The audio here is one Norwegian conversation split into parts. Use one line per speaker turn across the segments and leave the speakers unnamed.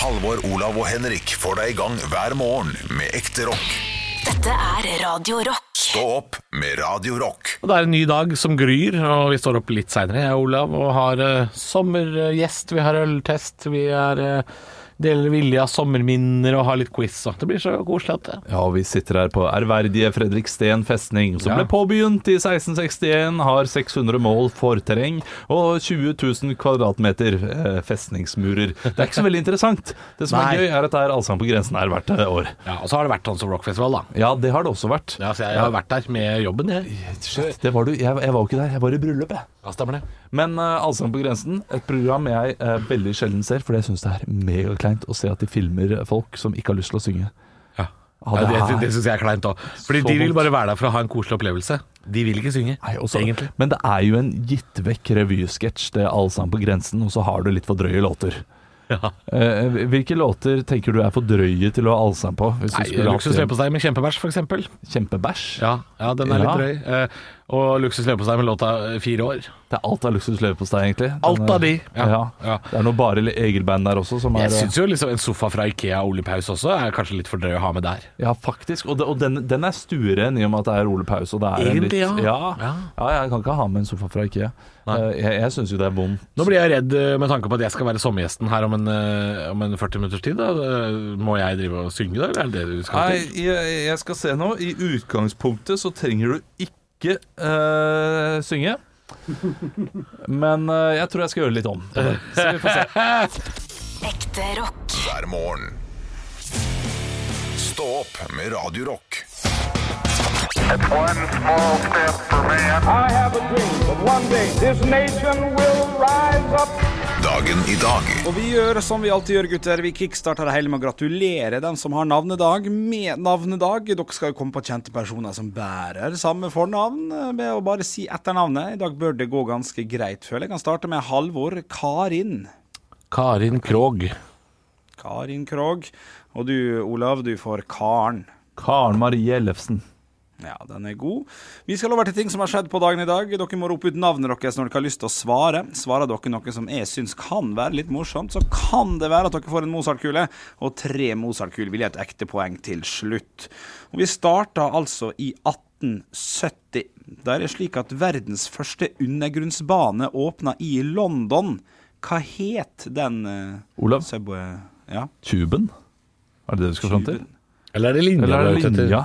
Halvor, Olav og Henrik får deg i gang hver morgen med ekte rock.
Dette er Radio Rock.
Stå opp med Radio Rock.
Og det er en ny dag som gryr, og vi står opp litt seinere, jeg og Olav, og har eh, sommergjest, vi har øltest, vi er eh, deler vilje av sommerminner og har litt quiz. Og det blir så koselig at det.
Ja, vi sitter her på ærverdige Fredriksten festning,
Ja.
som ble påbegynt i 1661, har 600 mål forterreng og 20 000 kvadratmeter eh, festningsmurer. Det er ikke så veldig interessant. Det som
Nei.
er gøy, er at det er Allsang på grensen her hvert eh, år.
Ja, Og så har det vært Tons of Rock Festival, da.
Ja, det har det også vært.
Ja, så jeg, jeg har vært der med jobben, jeg.
Shit, det var du. Jeg, jeg var jo ikke der, jeg var i bryllup, jeg.
Ja, stemmer det.
Men eh, Allsang på grensen, et program jeg eh, veldig sjelden ser, fordi jeg syns det er megakleint å se at de filmer folk som ikke har lyst til å synge.
Ja.
Ja, det
det
er-
det, syns jeg er kleint òg. Fordi
Så
de vil
vondt.
bare være der for å ha en koselig opplevelse. De vil ikke synge,
Nei, også,
egentlig.
Men det er jo en gitt vekk revysketsj, det er Allsang på grensen, og så har du litt for drøye låter.
Ja.
Eh, hvilke låter tenker du er for drøye til å ha allsang på? Hvis
Nei,
du skulle hatt
Luksus
en
leverpostei med kjempebæsj, for eksempel.
kjempebæsj?
Ja, ja den er
Ja.
litt drøy. Eh, og Luksus leverpostei med låta eh, Fire år.
Det er alt av luksus leverpostei, egentlig. Den
Alt
er-
av de.
Ja.
Ja.
Det er noe bare Egil-band der også som er eh,
Jeg syns jo liksom en sofa fra Ikea og Ole Paus også er kanskje litt for drøy å ha med der.
Ja, faktisk. Og, det, og den, den er stueren i og med at det er Ole Paus. Og det er en
Egentlig, ja.
litt, ja.
Ja.
Ja. Jeg kan ikke ha med en sofa fra IKEA. Eh, jeg jeg syns jo det er vondt.
Nå blir jeg redd eh, med tanke på at jeg skal være sommergjesten her om en, eh, om en 40 minutters tid. Da. Eh, Må jeg drive og synge da, eller er det det du skal
Nei,
til?
jeg, jeg skal se nå. I utgangspunktet så trenger du ikke eh, synge. Men eh, jeg tror jeg skal gjøre det litt om. Så vi får se.
Ekte rock.
Hver morgen. Stå opp med Radio Rock.
One small step for man.
I have a dream that one day this nation will rise up.
Dagen i dag.
Og vi gjør som vi alltid gjør, gutter. Vi kickstarter det hele med å gratulere dem som har navnedag med navnedag. Dere skal jo komme på kjente personer som bærer samme fornavn, eh, med å bare si etternavnet. I dag bør det gå ganske greit, føler jeg. Jeg kan starte med Halvor Karin.
Karin Krog.
Karin Krog. Og du, Olav, du får Karen.
Karen Marie Ellefsen.
Ja, den er god. Vi skal over til ting som har skjedd på dagen i dag. Dere må rope ut navnet deres når dere har lyst til å svare. Svarer dere noe som jeg syns kan være litt morsomt, så kan det være at dere får en Mozart-kule. Og tre Mozart-kuler vil gi et ekte poeng til slutt. Og vi starta altså i 1870. Der er det slik at verdens første undergrunnsbane åpna i London. Hva het den eh,
Olav?
subway... Ja,
Tuben? Er det det du skal fram til?
tuben?
Eller er det linja?
Eller er
du
det
ute etter?
linja?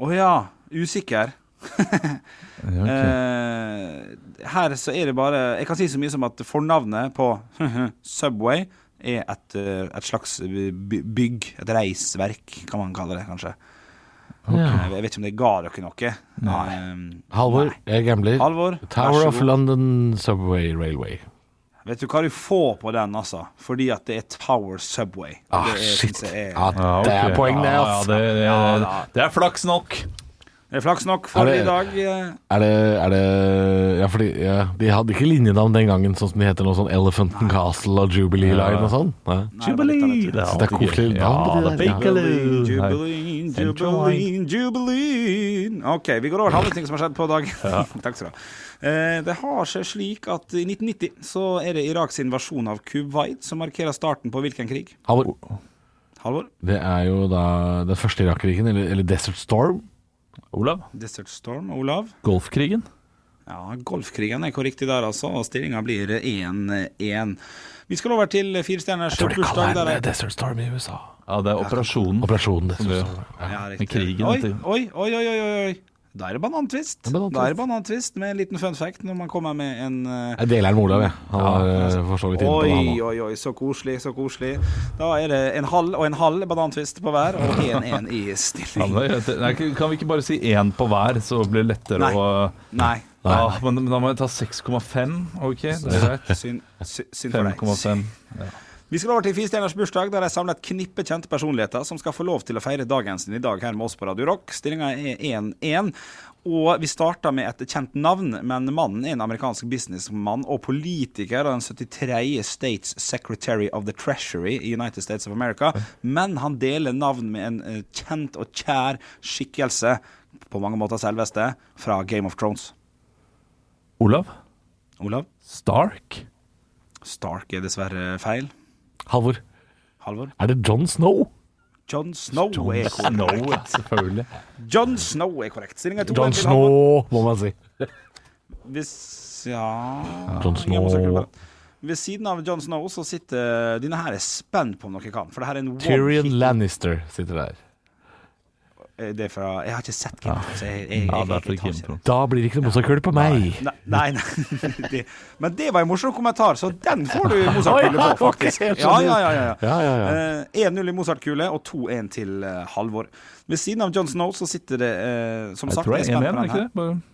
Å ja, usikker.
Ja, ok.
Eh, her så er det bare Jeg kan si så mye som at fornavnet på Subway er et, eh, et slags by- bygg, et reisverk, kan man kalle det, kanskje. Eh, Jeg vet ikke om det ga dere noe. Eh,
Halvor, jeg gambler.
Halvor,
Tower
vær så
of
god.
London Subway Railway.
Vet du hva du får på den, altså? Fordi at det er Tower Subway.
Ah,
det, er,
shit.
synes jeg er,
Ja, det er
ok.
poeng, det. altså.
Ja,
ass.
Ja, det, det, det er flaks nok.
det er flaks nok for
Er det-
i dag. eh,
Er det, er det Ja, fordi ja, de hadde ikke linjenavn den gangen, sånn som de heter nå, sånn Elephant and Castle og Jubilee Line og sånn. Nei.
Nei, det var litt av et-
er
Så det er
alltid
koselig
gøy.
navn på
Ja,
de
det
der.
er
Jubilee,
Bakerloo. Nei.
jubilee,
Central
jubilee, jubilee. OK, vi går over til andre ting som har skjedd på dagen. Takk skal du ha. Eh, Det har seg slik at i 1990 så er det Iraks invasjon av Kuwait som markerer starten på hvilken krig?
Halvor,
Halvor?
det er jo da den første Irak-krigen, eller, eller Desert Storm.
Olav?
Desert Storm? Olav?
Golfkrigen?
Ja, Golfkrigen er korrekt der, altså. Og stillinga blir 1-1. Vi skal over til firestjerners
Jeg tror de
bursdag.
kaller
Der
den
er
Desert Storm i USA.
Ja, det er operasjonen.
Operasjonen Desert
Ja.
Storm. Ja.
Ja,
Med krigen,
Oi,
vet du.
oi, oi, oi, oi, oi. Da er det banantvist. Da
Banantvist.
er det banantvist med en liten fun fact når man kommer med en eh,
Jeg deler den med Olav, jeg. Han var eh, for så vidt inne på det, han
Oi,
også.
oi, oi, så koselig, så koselig. Da er det en halv og en halv banantvist på hver, og 1-1 i
Ja, men
stilling.
det er greit. Nei, kan vi ikke bare si én på hver, så blir det lettere
Nei.
å
Nei,
Ja, Ah, men, men da må jeg ta 6,5. OK, det er greit.
synd, sy- synd for deg.
5,5.
Vi skal over til Firestjerners bursdag, der de samler et knippe kjente personligheter som skal få lov til å feire dagen sin i dag her med oss på Radio Rock. Stillinga er 1-1. Og vi starter med et kjent navn, men mannen er en amerikansk businessmann og politiker og den 73. States Secretary of the Treasury i United States of America. Men han deler navn med en eh, kjent og kjær skikkelse, på mange måter selveste, fra Game of Thrones.
Olav?
Olav?
Stark?
Stark er dessverre feil.
Halvor.
Halvor?
Er det John Snow?
John Snow er korrekt.
Snow, selvfølgelig.
John Snow er korrekt. Stillinga er 2-1
John
til Halvor.
Snow, må man si.
Hvis Ja
John
Jeg må søke
Snow.
det. Ved siden av John Snow så sitter Dine her er spent på om dere kan. For det her er en one
Tyrion
hit-
Lannister sitter der.
Eh, Det er fra Jeg har ikke sett Game of Thrones. Jeg, jeg, jeg,
Ja,
jeg,
det er for
tar ikke
Kim
det.
Trond.
Da blir det ikke noe morsakule på meg.
Nei, nei, nei. Det, men det var en morsom kommentar, så den får du
Å,
Mozart-kule
ja,
på, faktisk.
ok, jeg skjønner.
Ja, ja, ja, ja.
Ja, ja, ja.
Eh, 1-0 i Mozart-kule og 2-1 til eh, Halvor. Ved siden av John Snow så sitter det, eh, som
Jeg
sagt
tror det
jeg
er 1-1, er
spent på den
det ikke
her.
det? Bare-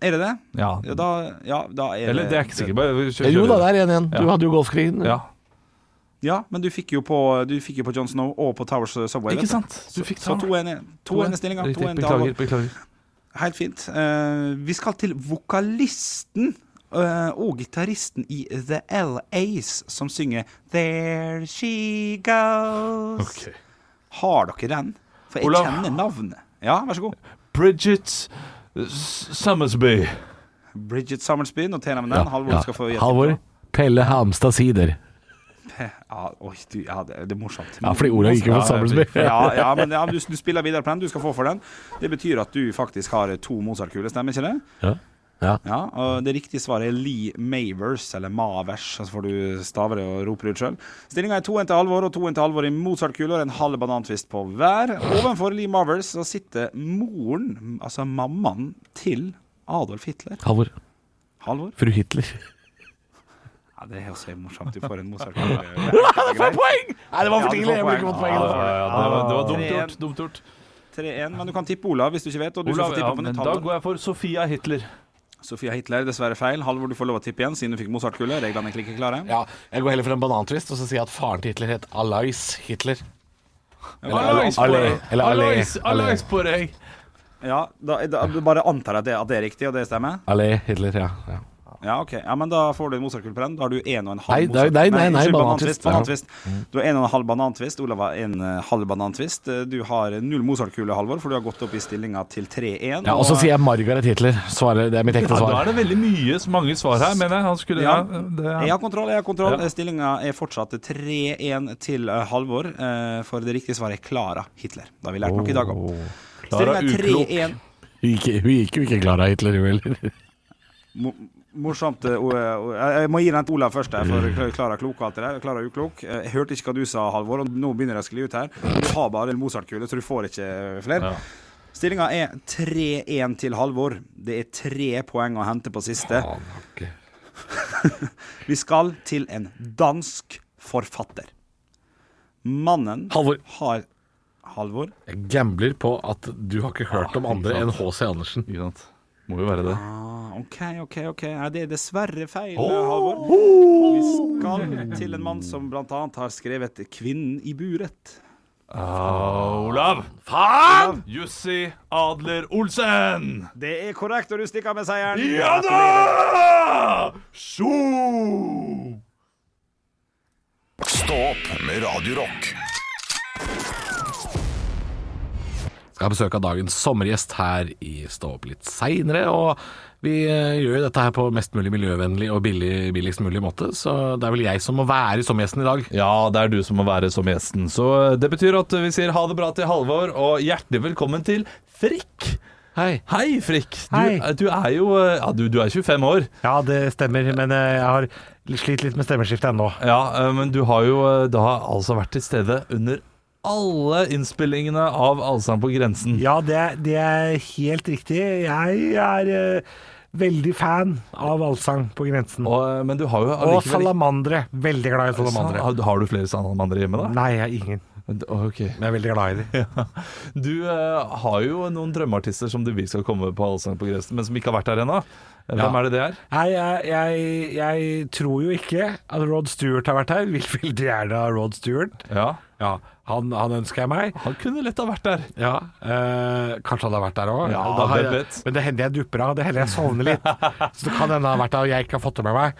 Er det det?
Ja.
Ja, da, ja, da er
Eller det er jeg ikke sikker på. Vi
Eh,
kjører
Jo da,
videre.
det er 1-1. Du
Ja.
hadde jo golfkrigen.
Ja.
Ja, men du fikk jo på, du fikk jo på John Snow og på Towers Subway. vet
Ikke
du.
sant? Du fikk
Så
ta-
2-1 er- 2-1 er stillinga.
Riktig.
2-1 til Halvor.
Beklager. beklager.
Helt fint. Eh, vi skal til vokalisten eh, og gitaristen i The LAs, som synger There She Goes. Har dere den? For jeg
Olav.
kjenner navnet. Ja, vær så god.
Bridget S- Summersby.
Bridget Summersby. Noter jeg med den. Halvor skal få gjette.
Halvor. Pelle Hamstad sider.
Ja, oi, du, ja, det, det er morsomt. Altså,
Ja, fordi ordet gikk jo på Samuelsby.
Ja, ja, men ja, du, du spiller videre på den. Du skal få for den. Det betyr at du faktisk har eh, to Mozart-kuler, stemmer ikke det?
Ja. Ja.
Ja, og Det riktige svaret er Lee Mavers, eller Mavers, så får du stave det og rope det ut sjøl. Stillinga er 2-1 til Alvor og 2-1 til Alvor i Mozart-kuler, en halv banantvist på hver. Ovenfor Lee Mavers så sitter moren, altså mammaen, til Adolf Hitler.
Halvor.
Halvor?
Fru Hitler.
Ja, det er også morsomt. Du får en Mozart-kule.
Poeng! Nei, det var
Ja,
for
du
tidlig.
får
Jeg ville ikke fått
poeng.
poeng.
Ja, ja, det var, det var dumt
Ah.
gjort. Dumt gjort.
3-1, men du kan tippe Olav hvis du ikke vet. Og du
Olav,
skal få
ja,
tippe på
men
nytt
da
Halvor.
går jeg for Sofia Hitler.
Sofia Hitler, dessverre feil. Halvor, du får lov å tippe igjen siden du fikk Mozart-kule. Reglene er egentlig ikke klare.
Ja, jeg går heller for en banantvist og så sier jeg at faren til Hitler het Alois Hitler.
Alois på
Allé,
deg!
eller Allé,
Alois,
Allé.
Alois på deg!
Ja, da, da bare antar jeg at det, at det er riktig, og det stemmer?
Allé Hitler, ja. ja.
Ja, ok. Ja, men da får du en Mozart-kule på den. Da har du en og en halv
Nei,
Mozart-
nei, nei, nei,
unnskyld,
banantvist.
banantvist.
Mm.
banantvist. Du har en og en halv banantvist. Olav har en eh, halv banantvist. Eh, Du har null Mozart-kule, Halvor, for du har gått opp i stillinga til 3-1.
ja og så sier jeg Margaret Hitler. Svarer, det er mitt
Ja,
ekte
da
svar.
er det veldig mye, mange svar her, mener jeg. Han skulle, ja,
Ja.
det,
Jeg har kontroll. jeg har kontroll
Ja.
Stillinga er fortsatt 3-1 til eh, Halvor, eh, for det riktige svaret er Klara Hitler. Da har vi lært noe i dag òg.
Clara
Stillinga er
Uklok.
3-1.
Hun gikk, hun gikk jo ikke klar av Hitler, hun heller.
Mo- Morsomt. eh, o- o- Jeg jeg må gi den til Olav først, her,
Mm.
for Klara klok og alt det der. Klara uklok. Eh, Jeg hørte ikke hva du sa, Halvor, og nå begynner jeg å skli ut her. Du har bare en Mozart-kule, så du får ikke eh, flere.
Ja.
Stillinga er 3-1 til Halvor. Det er tre poeng å hente på siste. Vi skal til en dansk forfatter. Mannen
Halvor,
har Halvor?
jeg gambler på at du har ikke hørt om andre enn H.C. Andersen.
Ikke sant. Må jo være det.
Ah, OK, OK. ok Nei, Det er dessverre feil, Halvor. Vi skal til en mann som bl.a. har skrevet 'Kvinnen i buret'.
Olav! Faen! Jussi Adler Olsen!
Det er korrekt, og du stikker med seieren.
Ja da! Sjo!
Stå opp med Radio Rock.
skal ha besøk av dagens sommergjest her i Stå opp litt seinere. Og vi eh, gjør jo dette her på mest mulig miljøvennlig og billig, billigst mulig måte, så det er vel jeg som må være sommergjesten i dag.
Ja, det er du som må være som gjesten. Så eh, det betyr at vi sier ha det bra til Halvor, og hjertelig velkommen til Frikk.
Hei.
Hei, Frikk. Du, eh,
Hei.
du er jo ja, du, du er 25 år,
Ja, det stemmer, men eh, jeg har slitt litt med stemmeskiftet ennå.
ja, eh, men du har jo eh, da altså vært til stede under alle innspillingene av Allsang på grensen.
Ja, det, det er helt riktig. Jeg er eh, veldig fan av allsang på grensen.
Og, eh, men du har jo
Og
allikevel-
salamandere. Veldig glad i salamandere.
Har- Har du flere salamandere hjemme, da?
Nei, jeg er ingen,
Ok.
men jeg er veldig glad i dem.
Du eh, har jo noen drømmeartister som du vil skal komme på Allsang på grensen, men som ikke har vært der ennå. Hvem
Ja.
er det det er?
Nei, jeg, jeg, jeg tror jo ikke at Rod Stewart har vært her. Vil veldig gjerne ha Rod Stewart.
Ja,
Ja, han, han ønsker jeg meg.
han kunne lett ha vært der.
Ja, eh, Kanskje han har vært der òg.
Ja, hvem vet?
men det hender jeg dupper av. Det hender jeg sovner litt. Så det kan hende han har vært der og jeg ikke har fått det med meg.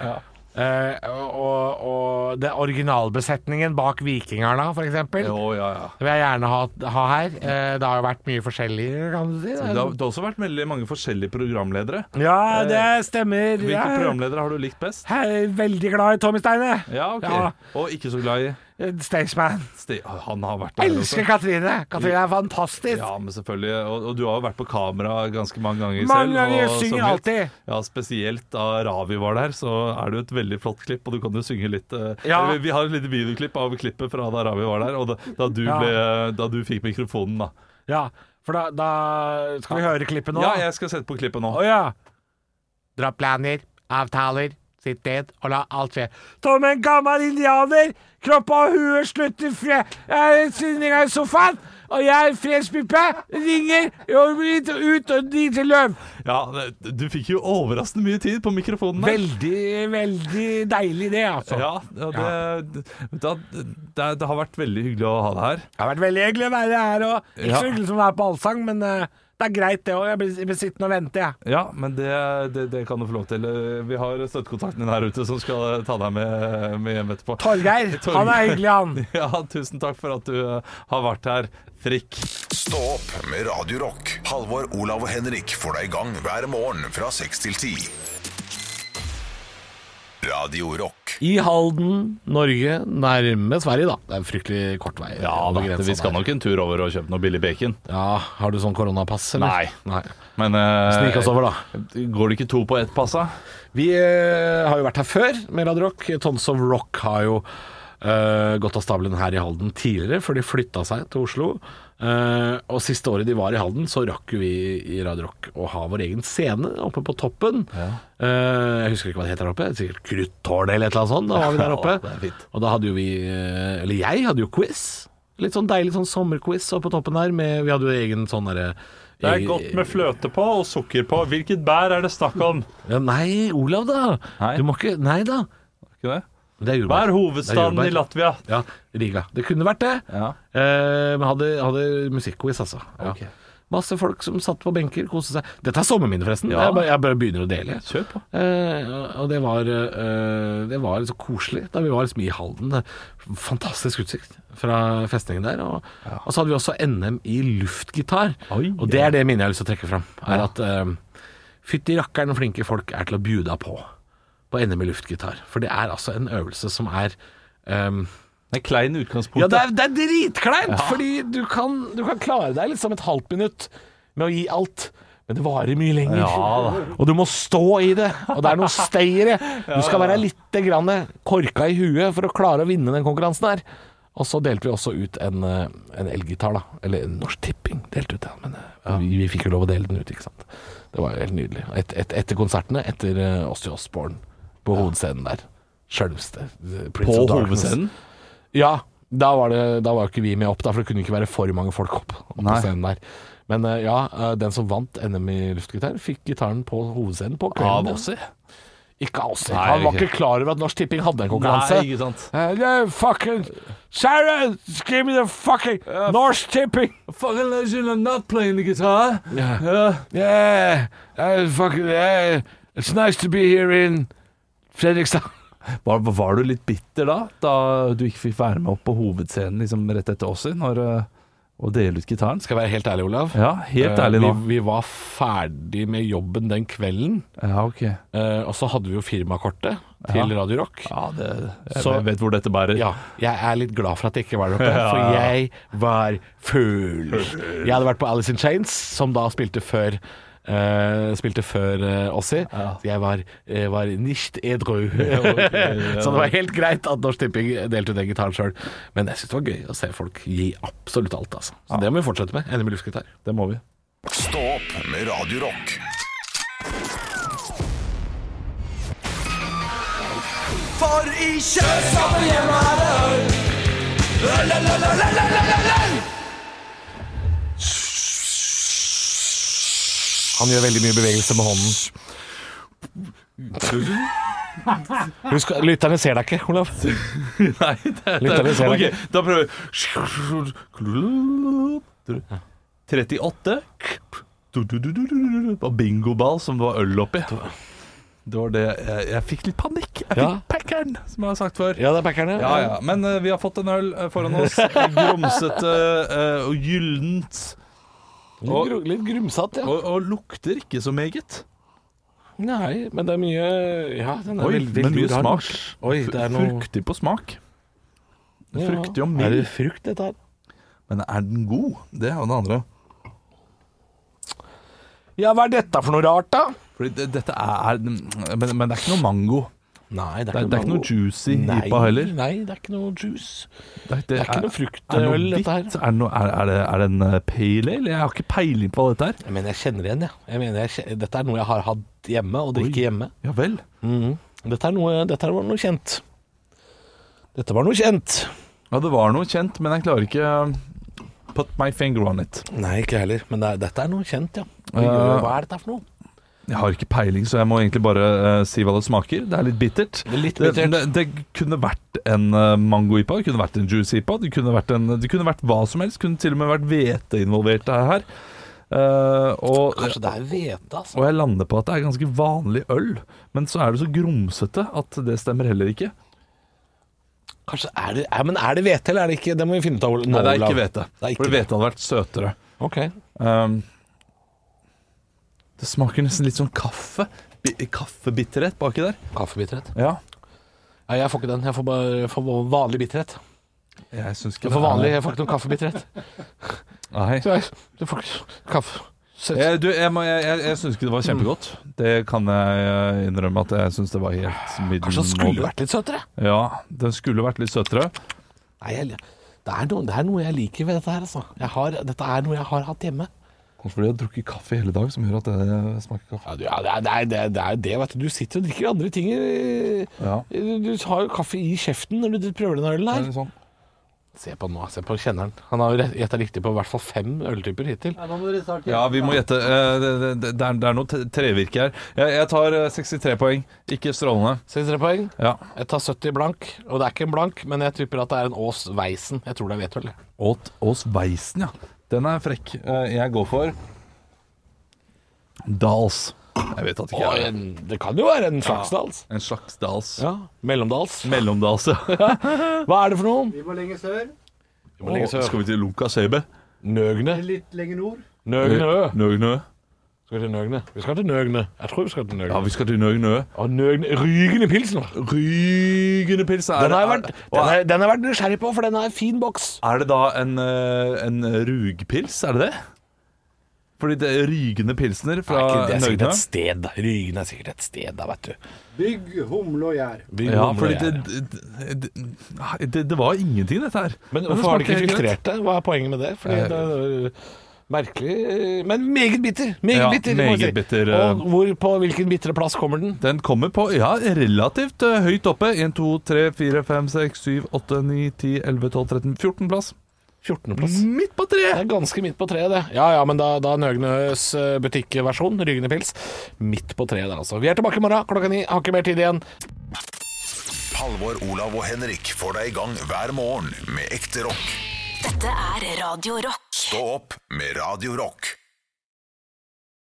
Eh, og, og det er originalbesetningen bak Vikingarna, for eksempel.
Jo, ja, ja.
Det vil jeg gjerne ha, ha her. Eh, det har jo vært mye forskjellig, kan du si.
Det har, det har også vært veldig mange forskjellige programledere.
Ja, det stemmer.
Eh, Hvilke
Jeg
programledere har du likt best?
er veldig glad i Tommy Steine.
Ja, ok.
Ja.
Og ikke så glad i
eh, Staysman.
Ste- Han har vært der
Elsker Katrine! Katrine er fantastisk.
Ja, men selvfølgelig. Og, og du har jo vært på kamera ganske mange ganger
Mange
selv.
ganger,
og
jeg synger
sunget.
alltid.
Ja, Spesielt da Ravi var der, så er det jo et veldig flott klipp, og du kan jo synge litt. eh,
Ja.
eller Vi har et lite videoklipp av klippet fra da Ravi var der, og da, da, du,
Ja.
ble, da du fikk mikrofonen, da.
Ja, for da, da Skal vi høre klippet nå?
Ja, jeg skal sette på klippet nå.
Å ja. Dra planer, avtaler, sitt ned og la alt skje. Som en gammel indianer! Kropp og hue slutter fre... Jeg er sinninga i sofaen, og jeg er fredspipe, ringer og ut ut og driter løv.
Ja, det- Du fikk jo overraskende mye tid på mikrofonen. der.
Veldig, veldig deilig det, altså.
Ja, ja, det, Da, det, det har vært veldig hyggelig å ha deg her.
Det har vært veldig hyggelig å være her, og ikke
Ja.
så hyggelig som å være på allsang, men eh, det er greit det òg. Jeg blir- jeg blir sittende og vente, jeg.
Ja, men det, det, det kan du få lov til. Vi har støttekontakten din her ute som skal ta deg med, med hjem etterpå.
Torgeir, han er hyggelig, han.
Ja, tusen takk for at du eh, har vært her, Frikk.
Stå opp med Radio Rock. Halvor, Olav og Henrik får deg i gang hver morgen fra 6 til 10. Radio Rock.
I Halden, Norge, nærme Sverige, da. Det er en fryktelig kort vei. over grensa
vi skal
der.
nok en tur over og kjøpe noe billig bacon.
Ja, Har du sånn koronapass, eller? Nei.
Men
Snik
Eh,
oss over, da.
går det ikke to på ett pass, da?
Vi eh, har jo vært her før med Radio Rock. Tons of Rock har jo eh, gått av stabelen her i Halden tidligere, for de flytta seg til Oslo. Eh, og siste året de var i Halden, så rakk jo vi i Radio Rock å ha vår egen scene oppe på toppen. Eh, jeg husker ikke hva det heter der oppe, sikkert Kruttårnet eller et eller annet sånt. Da var vi der oppe.
Ja, det er fint.
og da hadde jo vi, eh, eller jeg hadde jo quiz. Litt sånn deilig sånn sommerquiz oppe på toppen der. Med, vi hadde jo egen sånn derre
Det er godt med fløte på og sukker på. Hvilket bær er det snakk om?
ja, Nei, Olav, da!
Nei.
Du må ikke Nei da.
Ikke det?
Det er
Hva
jordbær.
er
Det
hovedstaden
er
i
jordbær.
Latvia?
Ja, Riga. Det kunne vært det.
Ja.
Eh, men hadde, hadde musikkquiz, altså. Ja.
Ok.
Masse folk som satt på benker, koste seg. Dette er sommerminnet, forresten.
Ja.
Jeg, bare, jeg bare begynner å dele.
Kjør på.
Eh, og det var, eh, det var så koselig da vi var liksom i Halden. Fantastisk utsikt fra festningen der. Og, og så hadde vi også NM i luftgitar.
Oi.
og det er det minnet jeg har lyst til å trekke fram. Er at eh, fytti rakkeren hvor flinke folk er til å bjuda på på NM i luftgitar. For det er altså en øvelse som er eh,
Det er klein utgangspunkt.
ja, det er, det er dritkleint, fordi du kan, du kan klare deg liksom et halvt minutt med å gi alt. Men det varer mye lenger.
Ja
og du må stå i det. Og det er noe støy i det. Du skal være litt grann korka i huet for å klare å vinne den konkurransen her. Og så delte vi også ut en, eh, en elgitar, da. Eller en Norsk Tipping delte ut den, men eh, vi, vi fikk jo lov å dele den ut, ikke sant. Det var jo helt nydelig. Et, et, etter konsertene, etter eh, Ozzy Osbourne på hovedscenen der. Sjølveste. eh, Prince
På
of Darkness.
hovedscenen?
Ja, da var, det, da var jo ikke vi med opp, da, for det kunne ikke være for mange folk opp, opp på
Nei.
scenen der. Men eh, ja, eh, den som vant NM i luftgitar, fikk gitaren på hovedscenen på kvelden.
Av Åssi?
Ikke av Åssi.
Nei,
Han var
ikke.
ikke klar over at Norsk Tipping hadde en konkurranse.
Nei, ikke sant.
Eh, no, fucking Sarah, give me the fucking Norsk Tipping!
Fucking legend, I'm not playing the guitar.
Yeah. Yeah, eh, fucking, eh, it's nice to be here in Fredrikstad.
Var, var du litt bitter da, da du ikke fikk være med opp på hovedscenen liksom rett etter Åssi, når, eh, og dele ut gitaren?
Skal jeg være helt ærlig, Olav?
Ja, helt ærlig nå.
Eh, Vi, vi var ferdig med jobben den kvelden.
Ja, ok.
Eh, og så hadde vi jo firmakortet til Radio Rock.
Ja, det, jeg
Så-
vet hvor dette bærer.
Ja, jeg er litt glad for at jeg ikke var der oppe, for jeg var full. Jeg hadde vært på Alice in Chains, som da spilte før eh, spilte før eh, Ossi. Så Jeg var, uh, var nicht edru. så det var helt greit at Norsk Tipping delte ut den gitaren sjøl. Men jeg syns det var gøy å se folk gi absolutt alt, altså. Så det må vi fortsette med. NM i luftgitar.
Det må vi.
Stå opp med Radio Rock.
Han gjør veldig mye bevegelse med hånden. Husk, lytterne ser deg ikke, Olav.
Nei, det,
Lytterne ser deg
ok, da prøver vi. 38. Du, du, du, du, du, du, du. Og bingoball som det var øl oppi. Det var det. Jeg, jeg fikk litt panikk. Jeg fikk
Ja.
packeren, som jeg har sagt før.
Ja, det er packerne.
Ja, ja. Men eh, vi har fått en øl eh, foran oss. Grumsete eh, og gyllent.
Litt, gru, litt grumsete, ja.
Og, og lukter ikke så meget.
Nei, men det er mye Ja, den er
Oi,
veldig,
men
veldig
mye
rar.
smak.
Oi, det er noe
Fruktig på smak. Fruktig og
Er
mild.
det frukt, dette her?
Men er den god? Det er jo det andre.
Ja, hva er dette for noe rart, da?
Fordi det, dette er, er men, men det er ikke noe mango.
Nei,
Det er, det er ikke noe juicy
Nei,
hypa heller.
Nei, det er ikke noe juice.
Det er,
det er ikke noe fruktøl,
er noe
dette her.
hvitt. Er, det noe- er, er, det, er det en eh, pale ale? Jeg har ikke peiling på dette her.
Jeg mener, jeg kjenner igjen, jeg. jeg, mener, jeg kje- dette er noe jeg har hatt hjemme, og drikker hjemme.
Ja vel.
Dette, er noe, dette var noe kjent. Dette var noe kjent.
Ja, det var noe kjent, men jeg klarer ikke eh, Put my finger on it.
Nei, ikke heller. Men det er, dette er noe kjent, ja. Vi
Eh.
gjør- Hva er dette for noe?
Jeg har ikke peiling, så jeg må egentlig bare eh, si hva det smaker. Det er litt bittert.
er litt bittert.
Det, det, det kunne vært en eh, mango-ipa, det kunne vært en juice-ipa, det, kunne vært en- det kunne vært hva som helst. Det kunne til og med vært hvete involvert her. Eh, og,
Kanskje det er hvete, altså.
og jeg lander på at det er ganske vanlig øl, men så er det så grumsete at det stemmer heller ikke.
Kanskje er det, er, men er det hvete, eller er det ikke? Det må vi finne ut av. nå,
Nei, det er
Olav.
ikke hvete.
Det er ikke
For hvete hadde vært søtere.
Ok.
Um, det smaker nesten litt sånn kaffe. Bi kaffebitterhet baki der.
Kaffebitterhet.
Ja.
Ja, jeg får ikke den. Jeg får bare jeg får bare vanlig bitterhet.
Jeg syns ikke
Jeg får,
det er-
vanlig, jeg får ikke noen kaffebitterhet.
Nei.
Så jeg, du får ikke kaffe. Søt.
Jeg, du, jeg, må- jeg, jeg, jeg syns ikke det var kjempegodt. Det kan jeg eh, innrømme at jeg syns det var helt middelmådig.
Kanskje den skulle vært litt søtere?
Ja, den skulle vært litt søtere.
Nei, jeg, det, er noe, det er noe jeg liker ved dette her, altså. Jeg har, dette er noe jeg har hatt hjemme.
Kanskje fordi jeg har drukket kaffe hele dag, som gjør at det smaker kaffe.
Ja, du, ja, det, er, det, er, det, er, det er jo det, vet du. Du sitter og drikker andre ting. eh,
Ja.
Du, du har jo kaffe i kjeften når du prøver den ølen
Det er
her.
litt sånn.
Se på nå, se på kjenneren. Han har jo rett- gjetta riktig på i hvert fall fem øltyper hittil.
Ja, vi må gjette. Eh, Det, det, det, er, det er noe te- trevirke her. Jeg, jeg tar eh, 63 poeng. Ikke strålende.
63 poeng.
Ja.
Jeg tar 70 blank. Og det er ikke en blank, men jeg tipper at det er en Ås Weisen. Jeg tror det er hvetøl. jeg.
Åt Ås Weisen, ja. Den er frekk. Eh, Jeg går for Dals. Jeg vet at det ikke
Oi,
er det.
en- det kan jo være en Slagsdals.
En slags Dals.
Ja. Mellomdals.
Mellomdals, ja.
Hva er det for noe?
Vi må lenger sør,
lenger sør.
Skal vi til Luka Sebe?
Nøgne.
litt lenger nord.
Nøgne ø.
Nøgnø.
Skal vi til Nøgne? Vi skal til Nøgne. Jeg tror vi skal til Nøgne.
Ja, vi skal til Nøgnø.
Og Nøgne Rygende pilsner.
Rygende pils er,
Den har jeg
er,
vært, den har,
er,
jeg- den har jeg vært nysgjerrig på, for den er en fin boks.
er det da en, eh, en rugpils, er det det? Fordi det er rygende pilsner fra
Nei, det er sikkert
Nøgnø.
et sted. da. Rygende er sikkert et sted, da, vet du.
Bygg, humle og gjær.
Bygg
Ja,
humle
fordi
og
det,
gjær.
det, det, det, det var ingenting, dette her.
Men
det
hvorfor har de
smaker
ikke
helt greit.
filtrert det? Hva er poenget med det? Fordi
Eh.
det er øh, merkelig øh, Men meget bitter! Meget
Ja,
bitter! må jeg
meget
si.
bitter,
Og
øh.
hvor, på hvilken bitre plass kommer den?
Den kommer på ja, relativt eh, høyt oppe. 1, 2, 3, 4, 5, 6, 7, 8, 9, 10, 11, 12, 13, 14 plass.
14. plass.
Midt på treet!
Det er ganske midt på treet, det. Ja ja, men da, da Nøgnøs øh, butikkversjon, Rygende pils, midt på treet der, altså. Vi er tilbake i morgen klokka ni. Har ikke mer tid igjen.
Halvor, Olav og Henrik får deg i gang hver morgen med ekte rock.
Dette er Radio Rock.
Stå opp med Radio Rock.